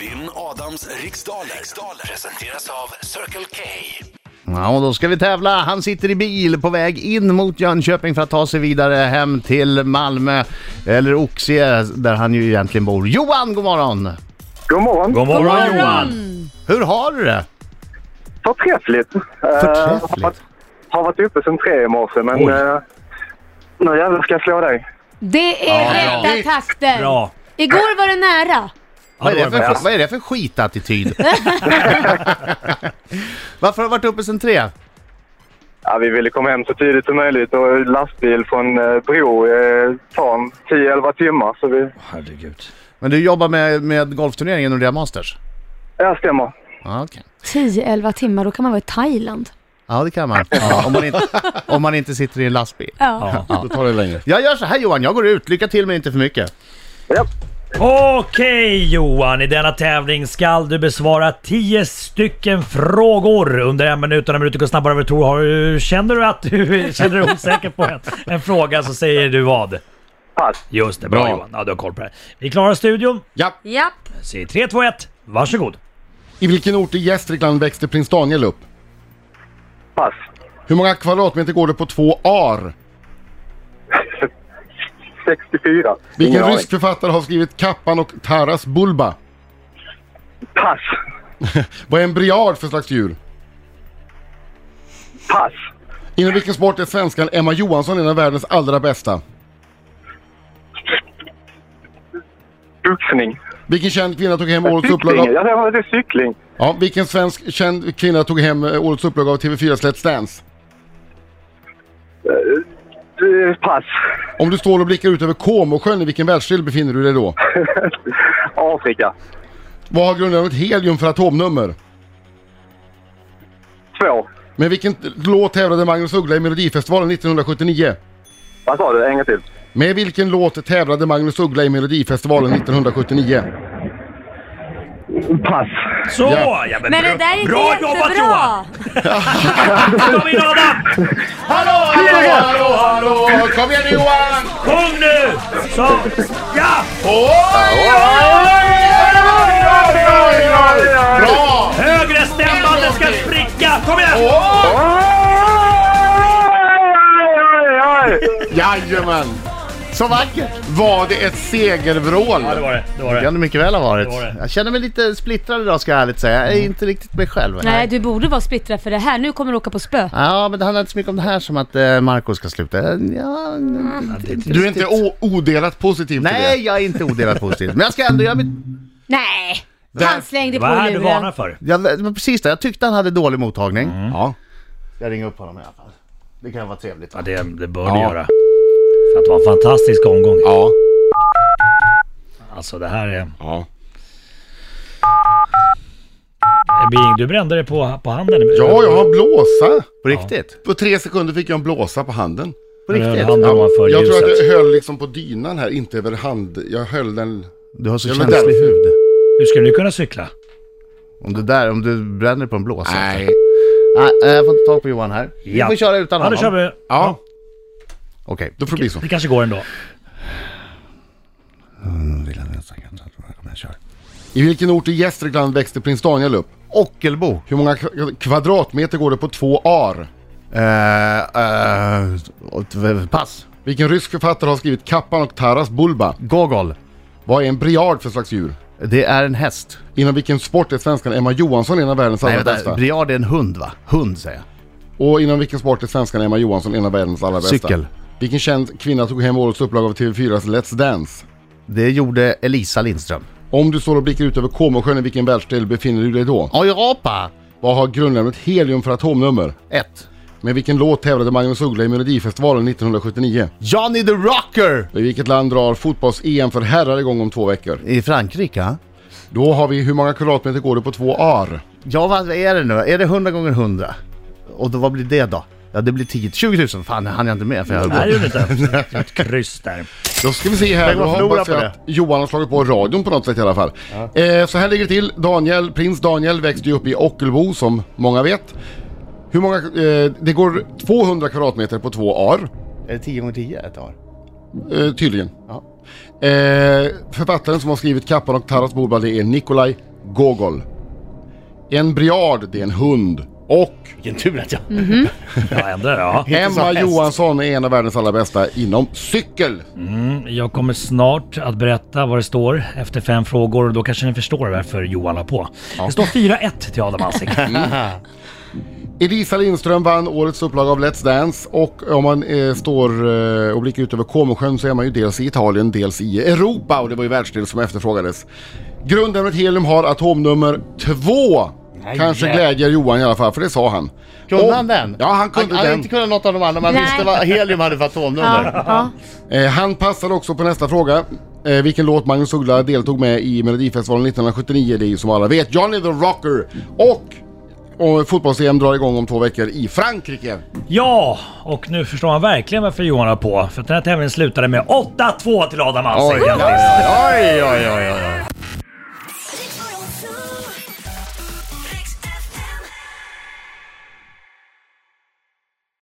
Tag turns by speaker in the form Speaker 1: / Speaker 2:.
Speaker 1: Vinn Adams riksdaler. riksdaler presenteras av Circle K.
Speaker 2: Ja, och då ska vi tävla. Han sitter i bil på väg in mot Jönköping för att ta sig vidare hem till Malmö, eller Oxie, där han ju egentligen bor. Johan, god morgon!
Speaker 3: God morgon.
Speaker 4: God morgon, Johan!
Speaker 2: Hur har du det?
Speaker 3: Förträffligt. Eh, har, varit,
Speaker 2: Förträffligt.
Speaker 3: har varit uppe sedan tre i morse, men
Speaker 4: Oj.
Speaker 3: eh, nu jävlar ska jag slå dig.
Speaker 5: Det är
Speaker 4: Ja, bra.
Speaker 5: rätta takter.
Speaker 4: Bra.
Speaker 5: Igår var det nära.
Speaker 4: Ja,
Speaker 2: Vad är
Speaker 4: det
Speaker 2: det för,
Speaker 4: var bra.
Speaker 2: vad är det för skitattityd? Varför har du varit uppe sen tre?
Speaker 3: Ja, vi ville komma hem så tidigt som möjligt och lastbil från eh, Bro eh, tar en 10-11 timmar. Så vi...
Speaker 4: Herregud.
Speaker 2: Men du jobbar med, med golfturneringen och det är Masters?
Speaker 3: Ja, stämmer.
Speaker 2: Ja, okej.
Speaker 5: 10-11 timmar, då kan man vara i Thailand.
Speaker 2: Ja, det kan man. Om, man inte, om man inte sitter i en lastbil.
Speaker 5: Ja.
Speaker 4: Ja, då tar det längre.
Speaker 2: Jag gör så här Johan, jag går ut. Lycka till men inte för mycket.
Speaker 3: Ja.
Speaker 4: Okej Johan, i denna tävling skall du besvara 10 stycken frågor under en minut. Och när minuten går snabbare än vad du tror. Har du, känner du att du känner dig osäker på en, en fråga så säger du vad?
Speaker 3: Pass.
Speaker 4: Just det, bra,
Speaker 2: Bra.
Speaker 4: Johan. Ja, du har koll på det. Vi klarar studion.
Speaker 5: Japp.
Speaker 4: Säg 3, 2, 1. Varsågod.
Speaker 6: I vilken ort i Gästrikland växte prins Daniel upp?
Speaker 3: Pass.
Speaker 6: Hur många kvadratmeter går det på två ar?
Speaker 3: 64.
Speaker 6: Vilken
Speaker 3: Ingen
Speaker 6: rysk författare har skrivit Kappan och Taras Bulba?
Speaker 3: aning. Pass.
Speaker 6: Vad är en briard för slags djur?
Speaker 3: Pass.
Speaker 6: Inom vilken sport är svenskan Emma Johansson en av världens allra bästa?
Speaker 3: Boxning.
Speaker 6: Vilken känd kvinna tog hem årets
Speaker 3: Cykling.
Speaker 6: upplaga av...
Speaker 3: Ja, det var det cykling.
Speaker 6: Ja, vilken svensk känd kvinna tog hem eh, årets upplaga av TV4s Let's Dance?
Speaker 3: Eh, Pass.
Speaker 6: Om du står och blickar ut över Comosjön, i vilken världsdel befinner du dig då?
Speaker 3: Afrika.
Speaker 6: Vad har grundämnet helium för atomnummer?
Speaker 3: Två.
Speaker 6: Med vilken t- låt tävlade Magnus Uggla i Melodifestivalen 1979?
Speaker 3: Vad sa du? En gång till.
Speaker 6: Med vilken låt tävlade Magnus Uggla i Melodifestivalen 1979?
Speaker 3: Pass.
Speaker 4: Så!
Speaker 6: Ja.
Speaker 4: Ja,
Speaker 5: Men
Speaker 4: bra-
Speaker 5: det där gick
Speaker 4: bra jobbat Johan!
Speaker 5: jättebra!
Speaker 4: Då har vi Adam!
Speaker 6: Hallå, hallå, hallå, hallå! Kom igen Johan!
Speaker 4: Sjung nu! Så! Ja!
Speaker 6: Oj, oj, oj, oj, oj! Bra!
Speaker 4: Högre stämbanden ska spricka! Kom igen!
Speaker 6: Oj!
Speaker 3: Oj, oj, oj, oj.
Speaker 6: Jajamän! Så vackert! Var det ett segervrål?
Speaker 4: Ja, det var det. det, var
Speaker 2: Det
Speaker 4: det.
Speaker 2: kan det mycket väl ha varit.
Speaker 4: Det Mm. var det.
Speaker 2: Jag känner mig lite splittrad idag ska jag ärligt säga. Jag är inte riktigt mig själv.
Speaker 5: Nej, du borde vara splittrad för det här. Nu kommer du åka på spö.
Speaker 2: Ja, men det handlar inte så mycket om det här som att eh, Marco ska sluta. Ja, inte- inte
Speaker 6: Du är inte
Speaker 2: riktigt.
Speaker 6: o- odelat positiv till det?
Speaker 2: Nej, jag är inte odelat positiv. Men jag ska ändå göra mitt...
Speaker 5: Nej!
Speaker 6: Där.
Speaker 5: Han slängde på
Speaker 4: Vad är det du varnar
Speaker 5: luren.
Speaker 4: för?
Speaker 2: Jag, det var precis det, jag tyckte han hade dålig mottagning.
Speaker 4: Mm.
Speaker 6: Ja.
Speaker 2: Jag ringer upp honom i alla fall. Det kan vara trevligt. Va?
Speaker 4: Ja, det, det bör du göra. För att det var en fantastisk omgång.
Speaker 6: Ja.
Speaker 4: Alltså det här är...
Speaker 6: Ja.
Speaker 4: Eh, Bing, du brände dig på, på handen.
Speaker 6: Ja, jag har en blåsa.
Speaker 2: På riktigt?
Speaker 6: På tre sekunder fick jag en blåsa på handen.
Speaker 2: På
Speaker 4: Med
Speaker 2: riktigt?
Speaker 4: handen
Speaker 2: Ja.
Speaker 4: ovanför
Speaker 6: Jag tror
Speaker 4: ljuset.
Speaker 6: att jag höll liksom på dynan här, inte över hand. Jag höll den...
Speaker 2: Du har så
Speaker 6: Jag var
Speaker 2: känslig
Speaker 6: där.
Speaker 2: hud.
Speaker 4: Hur skulle du kunna cykla?
Speaker 2: Om du, där, om du bränner på en blåsa.
Speaker 6: Nej.
Speaker 2: Nej, eh, jag får inte tag på Johan här. Vi
Speaker 4: Ja.
Speaker 2: får köra utan
Speaker 4: Ja,
Speaker 2: honom.
Speaker 4: då kör vi.
Speaker 6: Ja,
Speaker 2: Okej.
Speaker 6: då får det bli så.
Speaker 4: Det kanske går ändå.
Speaker 6: I vilken ort i Gästrikland växte prins Daniel upp?
Speaker 2: Ockelbo.
Speaker 6: Hur många kva- kvadratmeter går det på två ar?
Speaker 2: Eh, eh, och- v- pass.
Speaker 6: Vilken rysk författare har skrivit Kappan och Taras Bulba?
Speaker 2: Gogol.
Speaker 6: Vad är en briard för slags djur?
Speaker 2: Det är en häst.
Speaker 6: Inom vilken sport är svenskan Emma Johansson en av världens
Speaker 2: Nej
Speaker 6: allra
Speaker 2: vänta,
Speaker 6: bästa?
Speaker 2: briard är en hund va? Hund säger jag.
Speaker 6: Och inom vilken sport är svenskan Emma Johansson en av världens allra bästa?
Speaker 2: Cykel.
Speaker 6: Vilken känd kvinna tog hem årets upplaga av TV4s Let's Dance?
Speaker 2: Det gjorde Elisa Lindström.
Speaker 6: Om du står och blickar ut över Comosjön, i vilken världsdel befinner du dig då?
Speaker 2: Europa!
Speaker 6: Vad har grundämnet helium för atomnummer?
Speaker 2: Ett.
Speaker 6: Med vilken låt tävlade Magnus Uggla i Melodifestivalen 1979?
Speaker 2: Johnny the Rocker!
Speaker 6: I vilket land drar fotbolls-EM för herrar igång om två veckor?
Speaker 2: I Frankrike? va?
Speaker 6: Då har vi, hur många kvadratmeter går det på två ar?
Speaker 2: Ja vad är det nu? Är det 100 gånger 100? Och då, vad blir det då? Ja det blir 10 20 000. Fan, han är inte med för jag höll
Speaker 4: Nej, det
Speaker 2: på.
Speaker 4: gjorde inte. Ett kryss där.
Speaker 6: Då ska vi se här,
Speaker 2: Tänk
Speaker 6: då
Speaker 2: vad förlorar
Speaker 6: hoppas jag
Speaker 2: på
Speaker 6: att Johan har slagit på radion på något sätt i alla fall. Eh, så här ligger det till, Daniel, prins Daniel växte ju upp i Ockelbo som många vet. Hur många, eh, det går 200 kvadratmeter på två ar.
Speaker 2: Är det 10 gånger 10 ett år?
Speaker 6: eh, tydligen.
Speaker 2: Ja.
Speaker 6: Eh, författaren som har skrivit Kappan och Taras bordbad det är Nikolaj Gogol. En briard, det är en hund. Och
Speaker 2: Vilken tur att jag...
Speaker 4: Ja, ändå, ja.
Speaker 2: Inte som
Speaker 6: Emma
Speaker 2: häst.
Speaker 6: Johansson är en av världens allra bästa inom cykel.
Speaker 4: Jag kommer snart att berätta vad det står efter fem frågor och då kanske ni förstår varför Johan la på. Det står 4-1 till Adam Alsing.
Speaker 6: Elisa Lindström vann årets upplaga av Let's Dance och om man eh, står eh, och blickar ut över Comosjön så är man ju dels i Italien, dels i Europa och det var ju världsdel som efterfrågades. Grundämnet helium har atomnummer 2.
Speaker 2: Nej.
Speaker 6: Kanske glädjer Johan i alla fall, för det sa han.
Speaker 2: Kunde
Speaker 6: Och-
Speaker 2: han den?
Speaker 6: Ja, han kunde
Speaker 2: Han hade
Speaker 6: den.
Speaker 2: inte kunnat något av de andra, man
Speaker 5: Nej.
Speaker 2: visste vad helium hade för atomnummer.
Speaker 5: Ja, ja.
Speaker 6: Eh, han passade också på nästa fråga. Eh, vilken låt Magnus Uggla deltog med i Melodifestivalen 1979, det är ju som alla vet Johnny the Rocker. Och, och fotbolls-EM drar igång om två veckor i Frankrike.
Speaker 4: Ja, och nu förstår man verkligen varför Johan la på. För att den här tävlingen slutade med 8-2 till Adam
Speaker 2: Oj,
Speaker 4: Alsing.
Speaker 2: oj, oj, oj, oj, oj.
Speaker 7: Riks-FM.